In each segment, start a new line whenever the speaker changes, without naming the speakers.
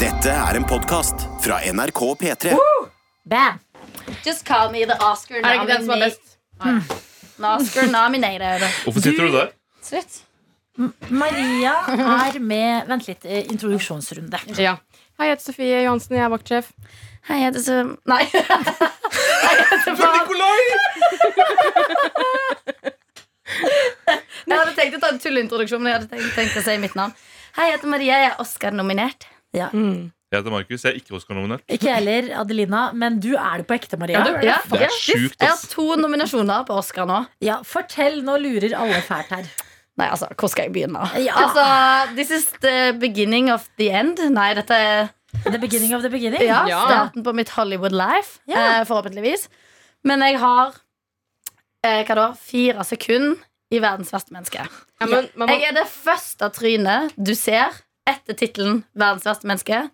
Dette er en podkast fra NRK P3.
Bam!
Just call me the Oscar
Er det ikke den som er
nominee-
best?
Oscar nominated.
Hvorfor sitter du der?
Slutt.
Maria er med Vent litt, eh, introduksjonsrunde.
Ja. Hei, jeg heter Sofie Johansen, jeg er vaktsjef.
Hei, jeg heter Sam... Nei. Jeg hadde tenkt å ta en tulleintroduksjon, men jeg hadde tenkt, tenkt å si mitt navn. Hei, jeg heter Maria. Jeg er Oscar-nominert.
Ja.
Jeg heter Markus. Jeg er ikke Oscar-nominert.
Ikke jeg heller, Adelina, men du er det på ekte, Maria.
Ja, du er det.
Ja,
Det er
faktisk.
sjukt,
Jeg har
ass.
to nominasjoner på Oscar nå.
Ja, fortell, nå lurer alle fælt her.
Nei, altså, hvor skal jeg begynne?
Ja.
Altså, This is the beginning of the end. Nei, dette er
The beginning of the beginning.
ja,
Ja.
starten på mitt Hollywood life.
Ja.
Eh, forhåpentligvis. Men jeg har eh, hva da, fire sekunder i verdens verste menneske.
Ja, men, man må,
Jeg er det første trynet du ser etter tittelen 'Verdens verste menneske'.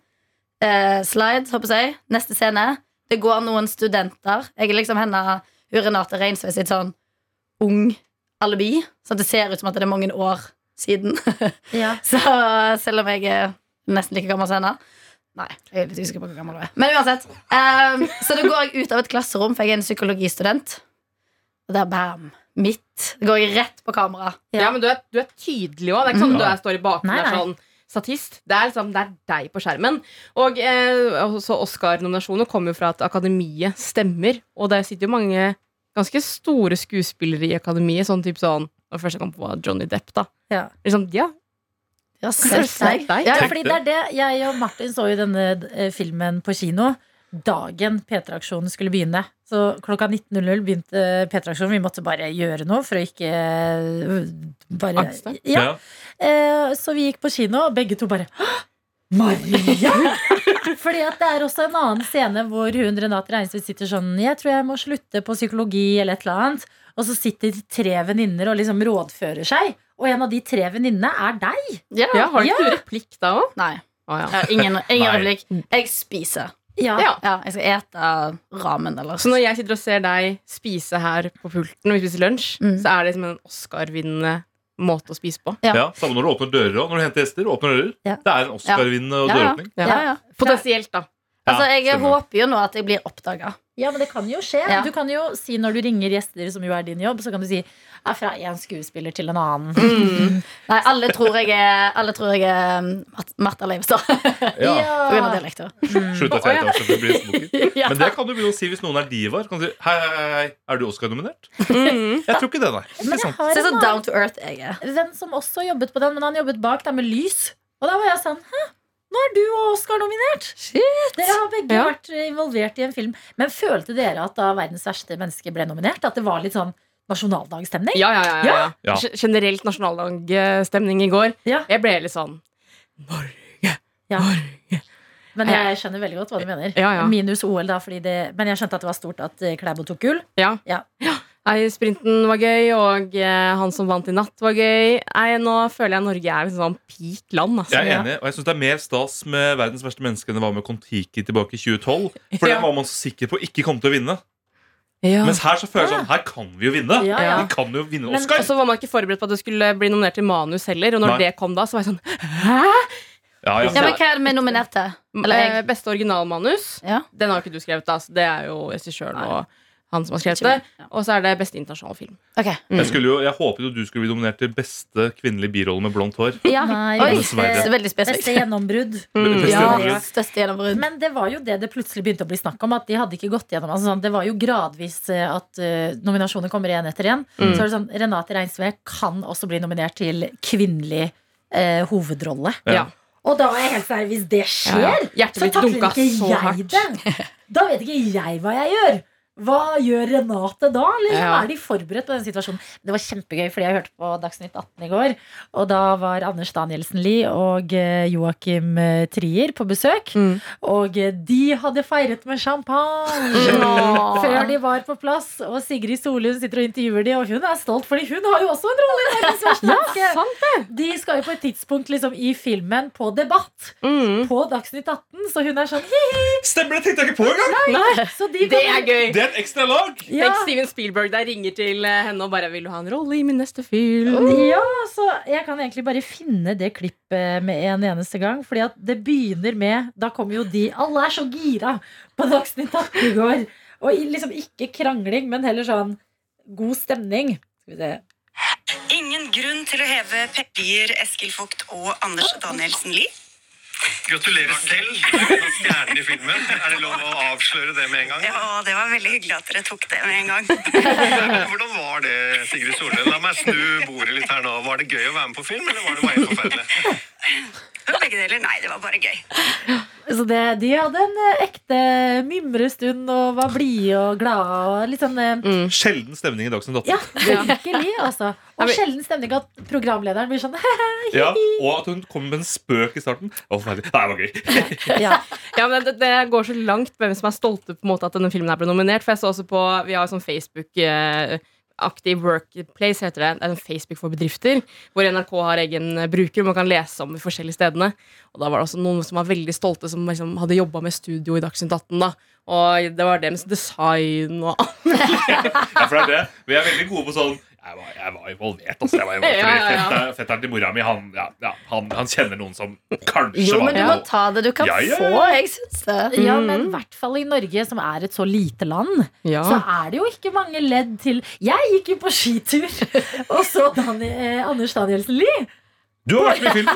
Eh, slide, håper jeg. Neste scene. Det går noen studenter. Jeg er liksom henne hun Renate Reinsve sitt sånn ung alibi. Så det ser ut som at det er mange år siden.
Ja.
Så selv om jeg er nesten like gammel som henne Nei, jeg er litt usikker på hvor gammel hun er. Men uansett. ehm, så da går jeg ut av et klasserom, for jeg er en psykologistudent. Og der, bam, mitt. Går jeg rett på kamera.
ja, men du er, du er tydelig òg. Det er ikke sånn du er, står i bakgrunnen
Nei,
og er
nei.
sånn statist. Det er, liksom, det er deg på skjermen. Og eh, også Oscar-nominasjoner kommer jo fra at Akademiet stemmer. Og der sitter jo mange ganske store skuespillere i Akademiet. Sånn typ sånn Og først jeg kom på, var Johnny Depp, da.
Ja.
Liksom, ja,
Ja,
Selv deg.
Ja,
Tenk
fordi det
det.
er det Jeg og Martin så jo denne eh, filmen på kino dagen P3-aksjonen skulle begynne. Så klokka 19.00 begynte eh, P3-aksjonen. Vi måtte bare gjøre noe for å ikke eh, bare,
Angste?
ja. Eh, Så vi gikk på kino, og begge to bare «Hå! Maria! Fordi at det er også en annen scene hvor hun Renate Reinsvik sitter sånn Jeg tror jeg må slutte på psykologi eller et eller annet. Og så sitter tre venninner og liksom rådfører seg. Og en av de tre venninnene er deg.
Ja.
ja Har ikke du replikk da òg?
Nei.
Å,
Jeg har ingen ingen
Nei.
replikk. Jeg spiser.
Ja.
Ja.
Ja, jeg skal ete ramen eller
Så når jeg sitter og ser deg spise her på pulten, og vi spiser lunsj,
Mm.
så er det liksom en Oscar-vinnende måte å spise på.
Ja.
Ja, Samme når du åpner dører og når du henter gjester. åpner dører.
Ja.
Det er en Oscar-vinnende
Ja, ja.
døråpning.
Ja, ja.
Potensielt, da.
Ja,
Altså, jeg
stemmer.
håper jo nå at jeg blir oppdaga.
Ja, men det kan jo skje.
Ja.
Du kan jo si når du ringer gjester, som jo er din jobb, så kan du si er fra én skuespiller til en annen.
Nei, alle tror jeg er, alle tror jeg er um, Mar- Martha Leivestad
Ja.
på grunn av dialekten.
Mm.
Slutt at jeg heter Aksel, for det blir smoking.
Ja.
Men det kan du begynne å si hvis noen er divaer. Kan du si, hei, hei, hei, er du Oscar-nominert? Jeg tror ikke det, nei. Sånn.
Men jeg har
Så det er
en
så
annen
down to earth jeg er.
venn som også jobbet på den, men han jobbet bak der med lys. Og da var jeg sånn Hæ? Nå er du og Oscar nominert! Dere har begge
Ja.
vært eh, involvert i en film. Men følte dere at da verdens verste menneske ble nominert, at det var litt sånn nasjonaldagstemning?
Ja, ja, ja. ja, ja.
Ja.
G- Generelt nasjonaldagstemning i går.
Ja.
Jeg ble litt sånn Norge!
Ja.
Norge!
Men jeg skjønner veldig godt hva du mener.
Ja, ja.
Minus OL, da, fordi det Men jeg skjønte at det var stort at eh, Klæbo tok gull.
Ja.
Ja.
Nei, sprinten var gøy, og eh, han som vant i natt, var gøy. Nei, nå føler jeg Norge er liksom sånn peak land. Altså.
Jeg er enig, og jeg syns det er mer stas med Verdens verste menneske enn det var med Kon-Tiki tilbake i 2012. For
Ja.
den var man så sikker på ikke kom til å vinne.
Ja. altså-
Mens her så føler jeg sånn, her kan vi jo vinne.
Ja, ja.
Vi kan jo vinne
Men-
Og
Oscar.
så var man ikke forberedt på at det skulle bli nominert til manus heller. Og når
Nei.
det kom da, så var jeg sånn Hæ?
Ja, ja.
Ja, men Hva er det vi er nominert til? Eller jeg.
Eh, Beste originalmanus.
Ja.
Den har jo ikke du skrevet, da, så det er jo regissøren
Nei.
og han som har skrevet
Ikke meg,
det.
ja.
Og så er det beste internasjonale film.
Ok.
Jeg, skulle jo, jeg håpet jo du skulle bli nominert til beste kvinnelige birolle med blondt hår.
Ja.
Nei,
Oi,
beste-
det er veldig
Beste
spesifikt.
gjennombrudd.
Beste
Ja,
kvinnelige.
Største gjennombrudd.
Men det var jo det det plutselig begynte å bli snakk om. At de hadde ikke gått gjennom altså, sånn, Det var jo gradvis eh, at eh, nominasjoner kommer én etter én. Så er det sånn, Renate Reinsve kan også bli nominert til kvinnelig eh, hovedrolle.
Ja.
Ja.
Og da var jeg helt seriøs. Hvis det skjer,
Ja, ja. Hjertet
så
mitt
takler
dunka
ikke
så
jeg
hardt.
det. Da vet ikke jeg hva jeg gjør. Hva gjør Renate da? Liksom?
Ja.
Er de forberedt på den situasjonen? Det var kjempegøy, fordi jeg hørte på Dagsnytt 18 i går. Og da var Anders Danielsen Lie og eh, Joakim eh, Trier på besøk.
Mm.
Og eh, de hadde feiret med champagne
Mm.
Åh.
før de var på plass. Og Sigrid Solund sitter og intervjuer de, og hun er stolt, fordi hun har jo også en rolle i Verdens verste menneske.
Sant det!
De skal jo på et tidspunkt liksom, i filmen på debatt
Mm.
på Dagsnytt 18, så hun er sånn hi-hi.
Stemmer det! Tenkte jeg ikke på engang!
Så de
Det er
kommer-
gøy!
Det Det er et ekstra lag!
Ja.
Tenk Steven Spielberg der ringer til eh, henne og bare 'Vil du ha en rolle i min neste film?'
Ja, så jeg kan egentlig bare finne det klippet med en eneste gang. Fordi at det begynner med Da kommer jo de Alle er så gira på Dagsnytt 18 i går. Og i- liksom ikke krangling, men heller sånn god stemning. Skal vi se.
Ingen grunn til å heve Peppier, Eskil Vogt og Anders Danielsen Lie.
Gratulerer selv. Du er Stjernen i filmen. Er det lov å avsløre det med en gang?
Ja, det var veldig hyggelig at dere tok det med en gang.
Hvordan var det, Sigrid Solveig? La meg snu bordet litt her nå. Var det gøy å være med på film, eller var det bare helt forferdelig?
Men Begge deler. Nei, det var bare gøy.
Så det, de hadde en eh, ekte mimrestund og var blide og glade og litt sånn eh,
Mm.
Sjelden stemning i Dagsnytt 18.
Ja, virkelig, altså.
Ja,
Og
men-
sjelden stemning at programlederen blir sånn
Ja, og at hun kommer med en spøk i starten. Å, forferdelig. Nei, det var gøy.
ja.
Ja, men det, det går så langt hvem som er stolte på en måte at denne filmen her ble nominert. For jeg så også på Vi har sånn Facebook-aktiv workplace, heter det. Det er sånn Facebook for bedrifter, hvor NRK har egen bruker. Man kan lese om de forskjellige stedene. Og da var det også noen som var veldig stolte, som liksom hadde jobba med studio i Dagsnytt 18. da og det var deres design og alt.
Ja, for det er det. Vi er veldig gode på sånn Jeg var, jeg var involvert, altså. Jeg var involvert.
Ja, ja, ja.
Fetter- Fetteren til mora mi, han, ja, ja, han, han kjenner noen som kanskje
Jo, men
var
du må ta det du kan
Ja, ja, ja.
få. Jeg syns det.
ja,
Mm.
men i hvert fall i Norge, som er et så lite land. så er det jo ikke mange ledd til Jeg gikk jo på skitur, og så Dan eh, Anders Danielsen Lie.
Du har vært med i film!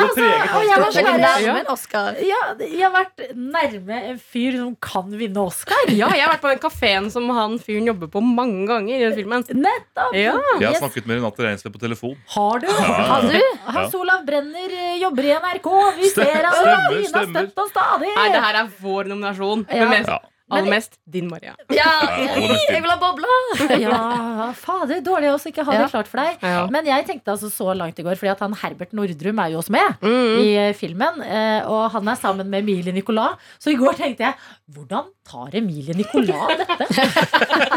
Du har preget
Og jeg var så
Men
nær-
nærme en Oscar.
ja, jeg har vært nærme en fyr som kan vinne Oscar.
Ja, jeg har vært på den kafeen som han fyren jobber på mange ganger i den filmen.
Nettopp!
Ja.
Jeg
Yes.
har snakket med Renate Reinsve på telefon.
Har du?
Har
du?
Hans Olav Brenner eh, jobber i NRK. Vi ser at
Stemmer,
Ina
stemmer.
støtt og stadig.
Nei, det her er vår nominasjon.
Ja.
Men mest,
Ja.
aller mest din, Maria.
Ja,
Ja, og mest til.
jeg vil ha bobler!
Ja, fader, dårlig å også ikke ha det
Ja.
klart for deg.
Ja.
Men jeg tenkte altså så langt i går, fordi at han Herbert Nordrum er jo også med
Mm.
i eh, filmen. eh, Og han er sammen med Emilie Nicolas. Så i går tenkte jeg hvordan tar Emilie Nicolas dette?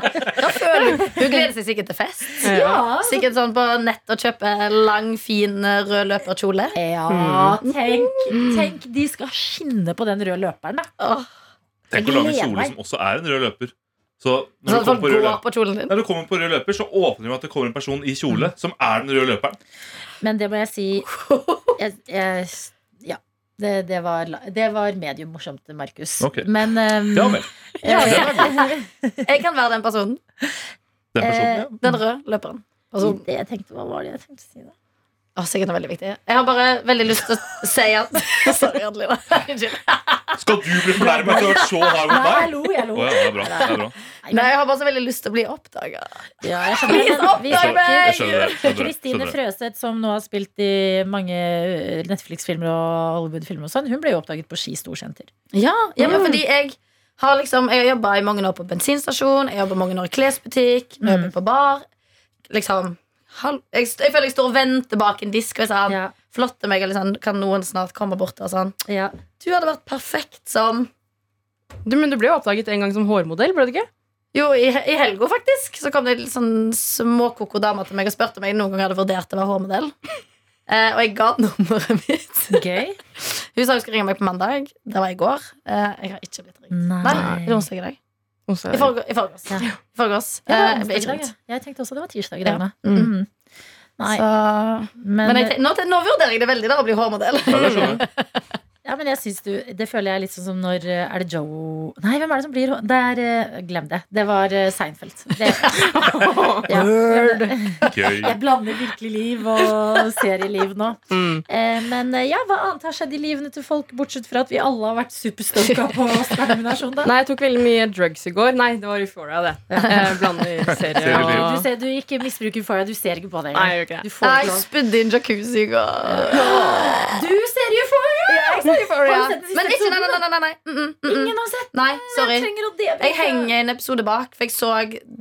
Hun gleder seg sikkert til fest.
Ja,
Sikkert sånn på nett og kjøpe lang, fin rød løperkjole.
ja
Mm.
tenk, tenk de skal skinne på den røde løperen, da.
Åh,
Tenk å lage en
Gleder
kjole
meg.
som også er en rød løper. Så
Sånn
når
at
du kommer
folk
på rød
går
løper
på kjolen din.
når du kommer på rød løper, så åpner det med at det kommer en person i kjole som er den røde løperen.
Men det må jeg si jeg, jeg, Ja. Det, det, var, la- det var medium morsomt, Markus.
Ok.
Men ehm,
Ja vel.
ja, ja.
Jeg kan være den personen.
Den personen,
Eh,
ja.
Den røde løperen.
Altså,
Personen.
det jeg tenkte, hva var det jeg tenkte å si da?
Åh, sikkert er veldig viktig. Jeg har bare veldig lyst til å si at Sorry, Adelina. Unnskyld.
Skal du bli fornærmet etter å ha vært så hard
Eh,
mot
Nei, jeg
meg?
lo, jeg lo.
Å ja, det er bra. Det er bra.
Nei, jeg har bare så veldig lyst til å bli oppdaga.
Ja, jeg skjønner det, men vi
Jeg skjønner,
snakker-
jeg skjønner det. jeg skjønner det,
Kristine
skjønner det.
Frøseth, som nå har spilt i mange eh, Netflix-filmer og Hollywood-filmer, og sånn, hun ble jo oppdaget på Ski storsenter.
Ja, ja men fordi jeg har liksom Jeg har jobba i mange år på bensinstasjon, jeg jobber mange år i klesbutikk, nå jobber jeg på bar. Liksom halv, jeg, st- jeg føler jeg står og venter bak en disk og er sånn
Ja.
Flotte meg, eller sånn Kan noen snart komme bort og sånn
Ja.
Du hadde vært perfekt som
Du, men du ble jo oppdaget en gang som hårmodell, ble du ikke?
Jo, i, he- i helga faktisk Så kom det en sånn småkoko dame til meg og spurte om jeg noen gang hadde vurdert å være hårmodell. Eh, og jeg ga nummeret mitt.
Gøy.
Hun sa hun skulle ringe meg på mandag. Det var i går. Eh, jeg har ikke blitt ringt.
Nei.
Nei, det er onsdag i dag. I
Også-
forgå- i forgårs.
Ja.
I forgårs.
Ja,
Eh,
det
jeg
var
ble
onsdag
ikke
i dag,
ringt.
ja. Jeg tenkte også det var tirsdag i
Ja.
dag. da.
Mm.
Mhm. Nei, men, eh,
Men jeg, tenk- nå, te- nå vurderer jeg det veldig da, å bli hårmodell.
Ja, det skjønner jeg.
ja, men jeg synes du Det føler jeg litt sånn som når eh, Er det Joe Nei, hvem er det som blir Det er eh, Glem det. Det var eh, Seinfeld. Det, ja.
Gøy.
Jeg blander virkelig liv og serieliv nå.
Mm.
Eh, men eh, ja, hva annet har skjedd i livene til folk, bortsett fra at vi alle har vært superstoka på Oscar-nominasjon, da?
Nei, jeg tok veldig mye drugs i går. Nei, det var Euphoria, det. Jeg blander serie
Du,
og
ser, du ikke misbruker Euphoria. Du ser ikke på det
Nei,
engang.
jeg gjør ikke det.
Du får ikke lov.
spydde inn jacuzzi i går.
Du ser Euphoria! Har du sett den siste
Men ikke, nei,
episoden,
nei, nei, nei, nei. Mm, mm, mm, mm.
Ingen har sett den!
nei sorry.
Jeg trenger å
Jeg
debrife.
henger en episode bak, for jeg så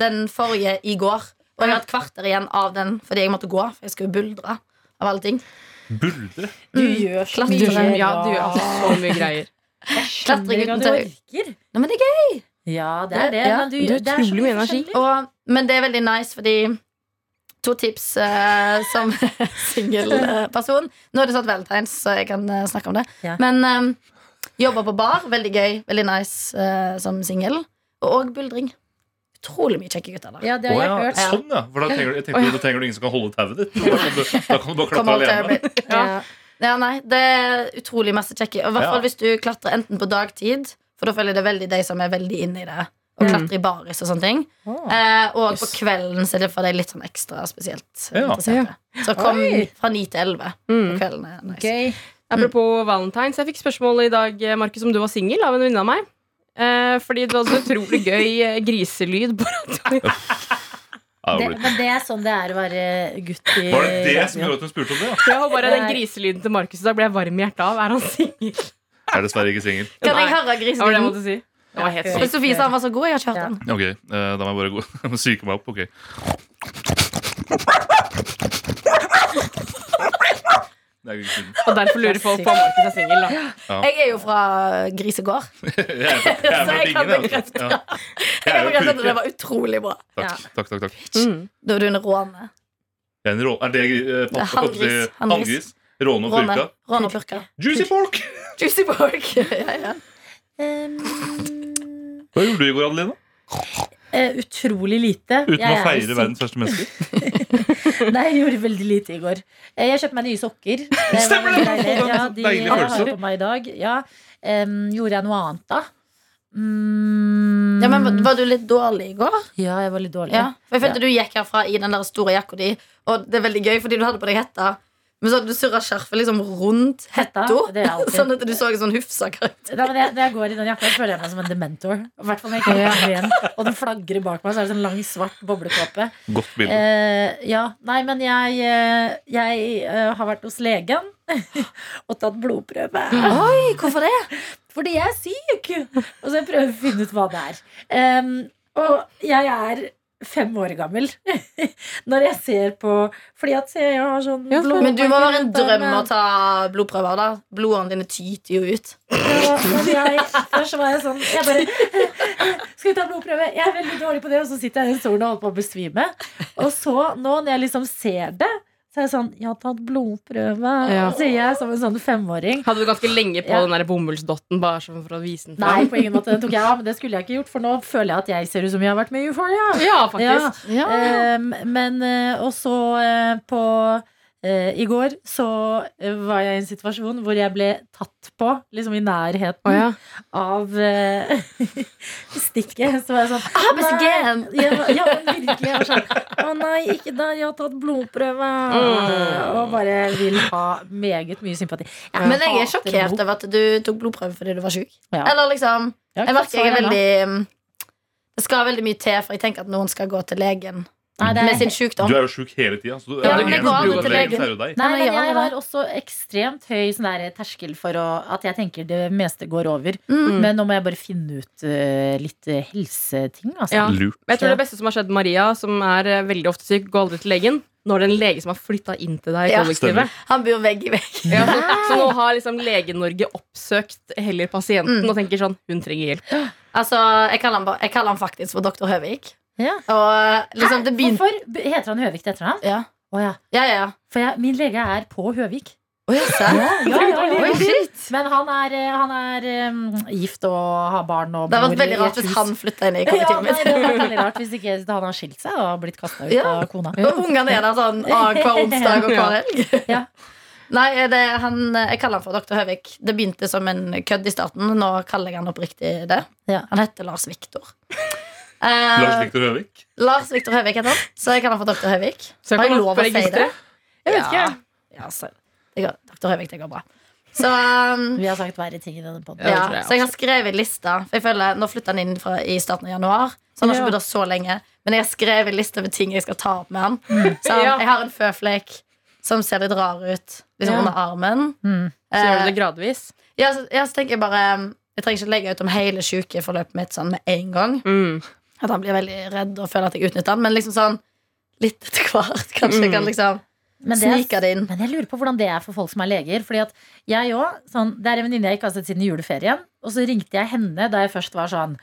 den forrige i går. Og jeg har et kvarter igjen av den fordi jeg måtte gå. For jeg skulle buldre av alle ting. Mm.
Buldre.
Du gjør så
Du gjør-
mye.
Ja, du gjør altså så mye greier.
Klatring
Skjønner ikke
uten
at du
tau.
orker.
Nei, men det er gøy.
Ja, det er det.
Ja,
men du,
det er
det er så
utrolig mye energi.
forskjellig.
Og, men det er veldig nice fordi To tips eh, som singelperson. Nå er det sånn valentines, så jeg kan eh, snakke om det.
Ja.
Men um, jobba på bar, veldig gøy, veldig nice eh, som singel. eh, Og, og buldring. utrolig mye kjekke gutter der.
Ja, det har jeg
Å, ja.
hørt.
Sånn, ja. For da trenger, du- jeg tenkte, da trenger du ingen som kan holde tauet ditt. Da kan du, da kan du bare
Come
klatre
out there,
alene.
Brit. ja. ja, nei, det er utrolig masse kjekke. Og i hvert
Ja.
fall hvis du klatrer enten på dagtid, for da føler jeg det er veldig de som er veldig inne i det. Og
Mm.
klatre i baris og sånne ting.
Å.
Eh, og på kvelden så er det for de litt sånn ekstra spesielt
Ja.
interesserte. Så kom
Oi.
fra ni til elleve på
Mm.
kvelden. er nice.
Gøy.
Apropos valentines, jeg fikk spørsmål i dag, Markus, om du var singel av en venninne av meg. Eh, fordi det var så utrolig gøy eh, griselyd på radioen.
Ja,
Det,
det blir-
men det er sånn det er å være gutt i
Var det det som gjorde at hun spurte om det? Ja?
Jeg har bare den griselyden til Markus, da ble jeg varm i hjertet av. Er han singel?
Jeg er dessverre ikke singel.
Kan
Nei.
jeg høre
Det var det jeg
griselyden?
måtte si. Det var helt
Ja.
sykt.
Men Sofie sa han var så god. Jeg har ikke hørt
Ja.
den.
Ok, eh, da må jeg bare gå jeg må psyke meg opp. Ok. Det er jo ikke synd.
Og derfor lurer folk på om Markus er singel. da.
Jeg er jo fra grisegård.
Jeg er jeg er
Så
fra
jeg kan
Bingen, jeg,
bekrefte.
altså. Ja.
Jeg
Jeg er
kan
jo
bekrefte at
pulke.
det var utrolig bra.
Takk, takk, takk, takk.
Mm.
Da var du en råne.
Det Er, en rå, er det eh, pass-
Handgris, handgris.
pass- Handgris. Råne og
Råne.
purka.
Råne og purka.
Juicy pork!
Juicy Borg. ja, ja.
Um,
Hva gjorde du i går, Adelina?
eh, utrolig lite.
Uten å
Jeg er jo
feire
sing-
verdens første menneske?
Nei, jeg gjorde veldig lite i går. Eh, Jeg kjøpte meg nye sokker. Det
Stemmer
veldig
det!
deilig. Ja, de
Deilig
har
følelse.
jeg på meg i dag. Ja. Em, gjorde jeg noe annet, da? Mm,
ja, men Var du litt dårlig i går?
ja, jeg var litt dårlig.
Ja. For jeg følte du gikk herfra i den der store jakka di, og det er veldig gøy fordi du hadde på deg hetta. Men så hadde du surra skjerfet liksom rundt hetta,
Hetta, det er alltid.
sånn at du så en sånn hufsa karakter.
Nei, men jeg, når jeg går i den jakka, føler jeg meg som en dementor. I hvert fall når jeg ikke har den igjen. Og den flagrer bak meg, så er det sånn lang, svart boblekåpe.
Godt bilde.
Eh, ja, nei, men jeg, eh, jeg eh, har vært hos legen og tatt blodprøve.
Oi, hvorfor det?
Fordi jeg er syk! Og så jeg prøver å finne ut hva det er. Em, og jeg er fem år gammel når jeg ser på Fordi at jeg har sånn
Ja,
blå-
Men du må være en drøm å
Men-
ta blodprøver, da. Blodårene dine tyter jo ut.
Ja, men jeg, først var jeg sånn jeg bare, Skal vi ta blodprøve? Jeg er veldig dårlig på det, og så sitter jeg i den stolen og holder på å besvime. Og så, nå når jeg liksom ser det, så er jeg sånn Jeg har tatt blodprøve,
Ja.
sier jeg som en sånn femåring.
Hadde du ganske lenge på
Ja.
den der bomullsdotten bare sånn for å vise den
Nei,
fram?
på ingen måte. Den tok jeg av, men det skulle jeg ikke gjort, for nå føler jeg at jeg ser ut som jeg har vært med i Euphoria.
Ja, faktisk.
Ja. Ehm, men eh, Og så eh, på eh, I går så eh, var jeg i en situasjon hvor jeg ble tatt på, liksom i nærheten
Å, ja.
av eh, stikket. Så var jeg sånn
Ah, BCG.
Nei, ja, ja, men virkelig. Jeg var sånn Å nei, ikke der. Jeg har tatt blodprøve.
Mm.
Og bare vil ha meget mye sympati. Jeg
Men jeg er
hater
sjokkert
blod.
over at du tok blodprøve fordi du var sjuk.
Ja.
Eller liksom
Jeg har
Jeg
ikke fått
merker jeg er
svar ennå.
veldig um, Det skal veldig mye til, for jeg tenker at noen skal gå til legen
Nei, det er-
med sin
Du
sykdom.
er jo sjuk hele tida. Så du,
Ja,
er det
men det
en
går
som
an
går
til
til legen,
legen.
så er det jo deg.
Nei,
Ja, men
men
gjør
jeg
det.
har også ekstremt høy sånn der terskel for å, at jeg tenker det meste går over.
Mm.
Men nå må jeg bare finne ut eh, litt eh, helseting, altså.
Ja.
Lurt.
Men jeg tror det beste som har skjedd Maria, som er eh, veldig ofte syk, gå aldri til legen. Nå er det en lege som har flytta inn til deg i
Ja.
kollektivet.
Han bor vegg i vegg.
Ja, så, så nå har liksom Lege-Norge oppsøkt heller pasienten
Mm.
og tenker sånn Hun trenger hjelp.
Altså, jeg kaller han, ba- jeg kaller han faktisk for doktor Høvik.
Ja.
Og liksom, det begynte
Hvorfor b- heter han Høvik til etternavn?
Ja,
Å ja.
ja, ja.
For jeg, min lege er på Høvik.
Oi, se.
Ja, ja, ja.
Oi, shit.
Men han er, eh, han er eh, gift og har barn og
Det hadde
bor
vært veldig
i et
rart hvis
hus.
han flytta inn i
ja, nei, det
kollektivet
hadde
mitt.
vært veldig rart hvis ikke han har skilt seg og blitt kasta ut
Ja.
av kona.
Og ungene er der sånn ah, hver onsdag og hver helg.
Ja.
Nei, eh, det, han, jeg kaller han for doktor Høvik. Det begynte som en kødd i starten. Nå kaller jeg han oppriktig det.
Ja.
Han heter Lars Viktor. Eh,
Lars Victor Høvik.
Lars Viktor Høvik heter han. Så jeg kaller han for Dr. Høvik.
Så jeg
Har jeg
kan
lov å si
oppregistrer.
det?
Jeg vet
Ja.
ikke.
Ja, så, det går, Dr. Høvik, det går bra. Så, um,
Vi har sagt verre ting i denne podden
Ja, det
ja,
tror jeg
så jeg har skrevet lista. For jeg føler, Nå flytter han inn fra, i starten av januar, så han har
Ja.
ikke bodd her så lenge. Men jeg har skrevet lista med ting jeg skal ta opp med han. Så han,
Mm. Ja.
Jeg har en føflekk som ser litt rar ut liksom
Ja.
under armen.
Mm.
Så gjør du det
Eh,
gradvis.
ja, så, ja, så tenker jeg bare um, Jeg trenger ikke legge ut om hele sykeforløpet mitt sånn med en gang.
Mm.
At han blir veldig redd og føler at jeg utnytter han. Men liksom sånn litt etter hvert. Kanskje jeg
Mm.
kan liksom
Men det er-
snike det inn.
Men jeg lurer på hvordan det er for folk som er leger. Fordi at jeg også, sånn, Det er en venninne jeg ikke har sett siden juleferien. Og så ringte jeg henne da jeg først var sånn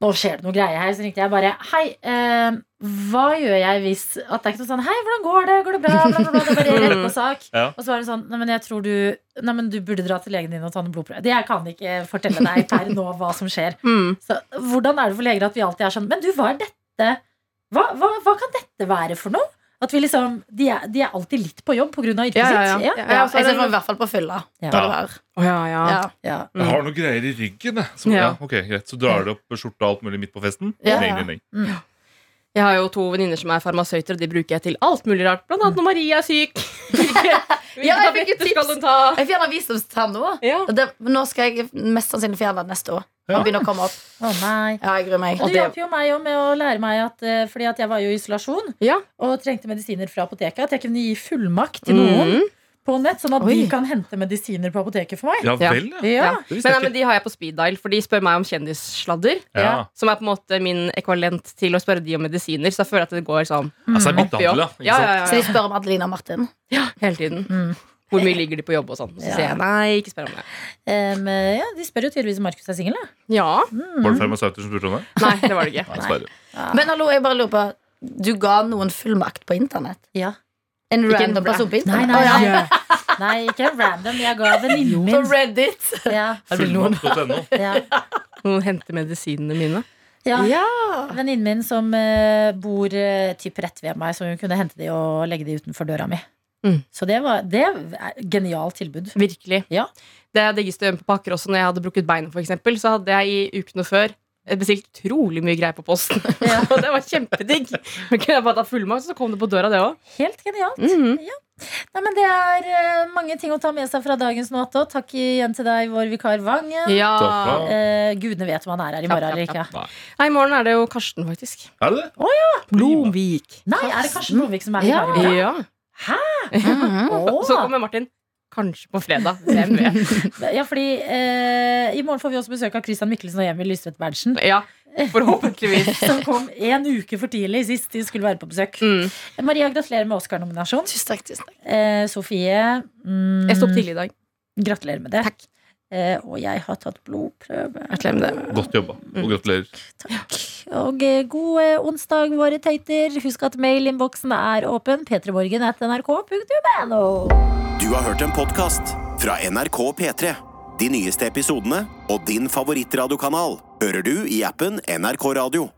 nå skjer det noe greie her. Så ringte jeg bare Hei, eh, hva gjør jeg hvis At det er ikke noe sånn Hei, hvordan går det? Går det bra? Bla, bla, bla. Det er bare rett på sak.
Ja.
Og så var hun sånn Nei, men jeg tror du Nei, men du burde dra til legen din og ta en blodprøve. Det jeg kan ikke fortelle deg per nå hva som skjer.
Mm.
Så hvordan er det for leger at vi alltid er sånn Men du, hva er dette? Hva, hva, hva kan dette være for noe? At vi liksom, De er, de er alltid litt på jobb pga. yrket
Ja, ja, ja.
sitt. Ja.
Ja,
Ja,
ja, så er
jeg ser
det-
for meg i hvert fall på fylla.
Ja.
Bør det være.
Å, ja, ja.
Ja.
Ja.
Jeg har noen greier i ryggen. jeg. Så, ja.
Ja.
ok, greit. så drar du opp skjorta og alt mulig midt på festen?
Ja.
Ring, ring, ring.
Jeg har jo to venninner som er farmasøyter, og de bruker jeg til alt mulig rart. Blant annet når Maria er syk.
Ja, jeg fikk jo
Hvilke tabletter skal
tips.
hun ta?
Jeg fjerner visdomstann nå.
Ja.
Og det, men nå skal jeg mest sannsynlig fjerne den neste år.
Ja.
Den begynner å komme opp.
Å nei.
Ja, jeg gruer meg.
Og
Og
du
det-
hjalp jo meg jo med å lære meg at eh, Fordi at jeg var jo i isolasjon
Ja.
og trengte medisiner fra apoteket, at jeg kunne gi fullmakt til noen
Mm.
på nett, sånn at de
Oi.
kan hente medisiner på apoteket for meg.
Ja
Ja.
vel, ja.
Ja.
Men,
Det visste
nei,
jeg
men
ikke.
de har jeg på speed dial, for de spør meg om kjendissladder.
Ja.
Som er på en måte min ekvalent til å spørre de om medisiner. Så jeg føler at det går sånn
Altså, det er
oppi opp.
midthandel,
Ja, ja, ja,
Så de
ja.
spør om Adelina og Martin.
Hele tiden.
Mm.
Hvor mye ligger de på jobb og sånn? Så
Ja.
sier jeg nei, ikke spør om det.
Em, eh, ja, de spør jo tydeligvis om Markus er singel, da.
Ja.
Var det farmasøyter som spurte om det?
Nei, det var det ikke.
Nei, dessverre.
Men hallo, jeg bare lurer på Du ga noen fullmakt på internett?
Ja.
En
en
random person på
Nei,
internett?
nei,
Å, ja.
nei. nei, ikke random. Jeg ga venninnen min.
På Reddit.
Ja,
Fullmakt.no.
ja.
Noen henter medisinene mine.
Ja.
Ja.
Venninnen min som eh, bor eh, typ rett ved meg, så hun kunne hente de og legge de utenfor døra mi.
Mm.
Så det var det er et genialt tilbud.
Virkelig.
Ja.
Det er diggeste å gjemme på pakker også. Når jeg hadde brukket beinet, for eksempel, så hadde jeg i ukene før eh, bestilt utrolig mye greier på posten. Og det var kjempedigg. Men kunne jeg bare ta fullmakt, så kom det på døra, det òg.
Helt genialt. ja. Nei, men det er eh, mange ting å ta med seg fra dagens Noato. Takk igjen til deg, vår vikar Vangen.
Takk, ja.
Eh, gudene vet om han er her i morgen
Klapp,
eller
klapp,
ikke.
Nei, I morgen er det jo Karsten, faktisk.
Er det det?
Blomvik.
Nei, er det Karsten Blomvik som er i
Ja.
dag?
Ja.
Mhm.
Åh.
Så kommer Martin kanskje på fredag. Hvem vet.
Ja, fordi eh, I morgen får vi også besøk av Christian Mikkelsen og Emil Lystvedt Berntsen.
Ja, forhåpentligvis.
Som kom en uke for tidlig sist de skulle være på besøk. Eh,
Mm.
Maria, gratulerer med Oscar-nominasjon.
Tusen takk. tusen takk
Eh, Sofie, mm,
Jeg sto opp tidlig i dag.
gratulerer med det. Eh, og jeg har tatt blodprøve.
Gratulerer med det.
Godt jobba. Og gratulerer.
Takk. Og eh, god eh, onsdag, våre tøyter. Husk at mailinnboksen er åpen. P3morgen at nrk.no.
Du har hørt en podcast fra NRK P3. De nyeste episodene og din favorittradiokanal hører du i appen NRK Radio.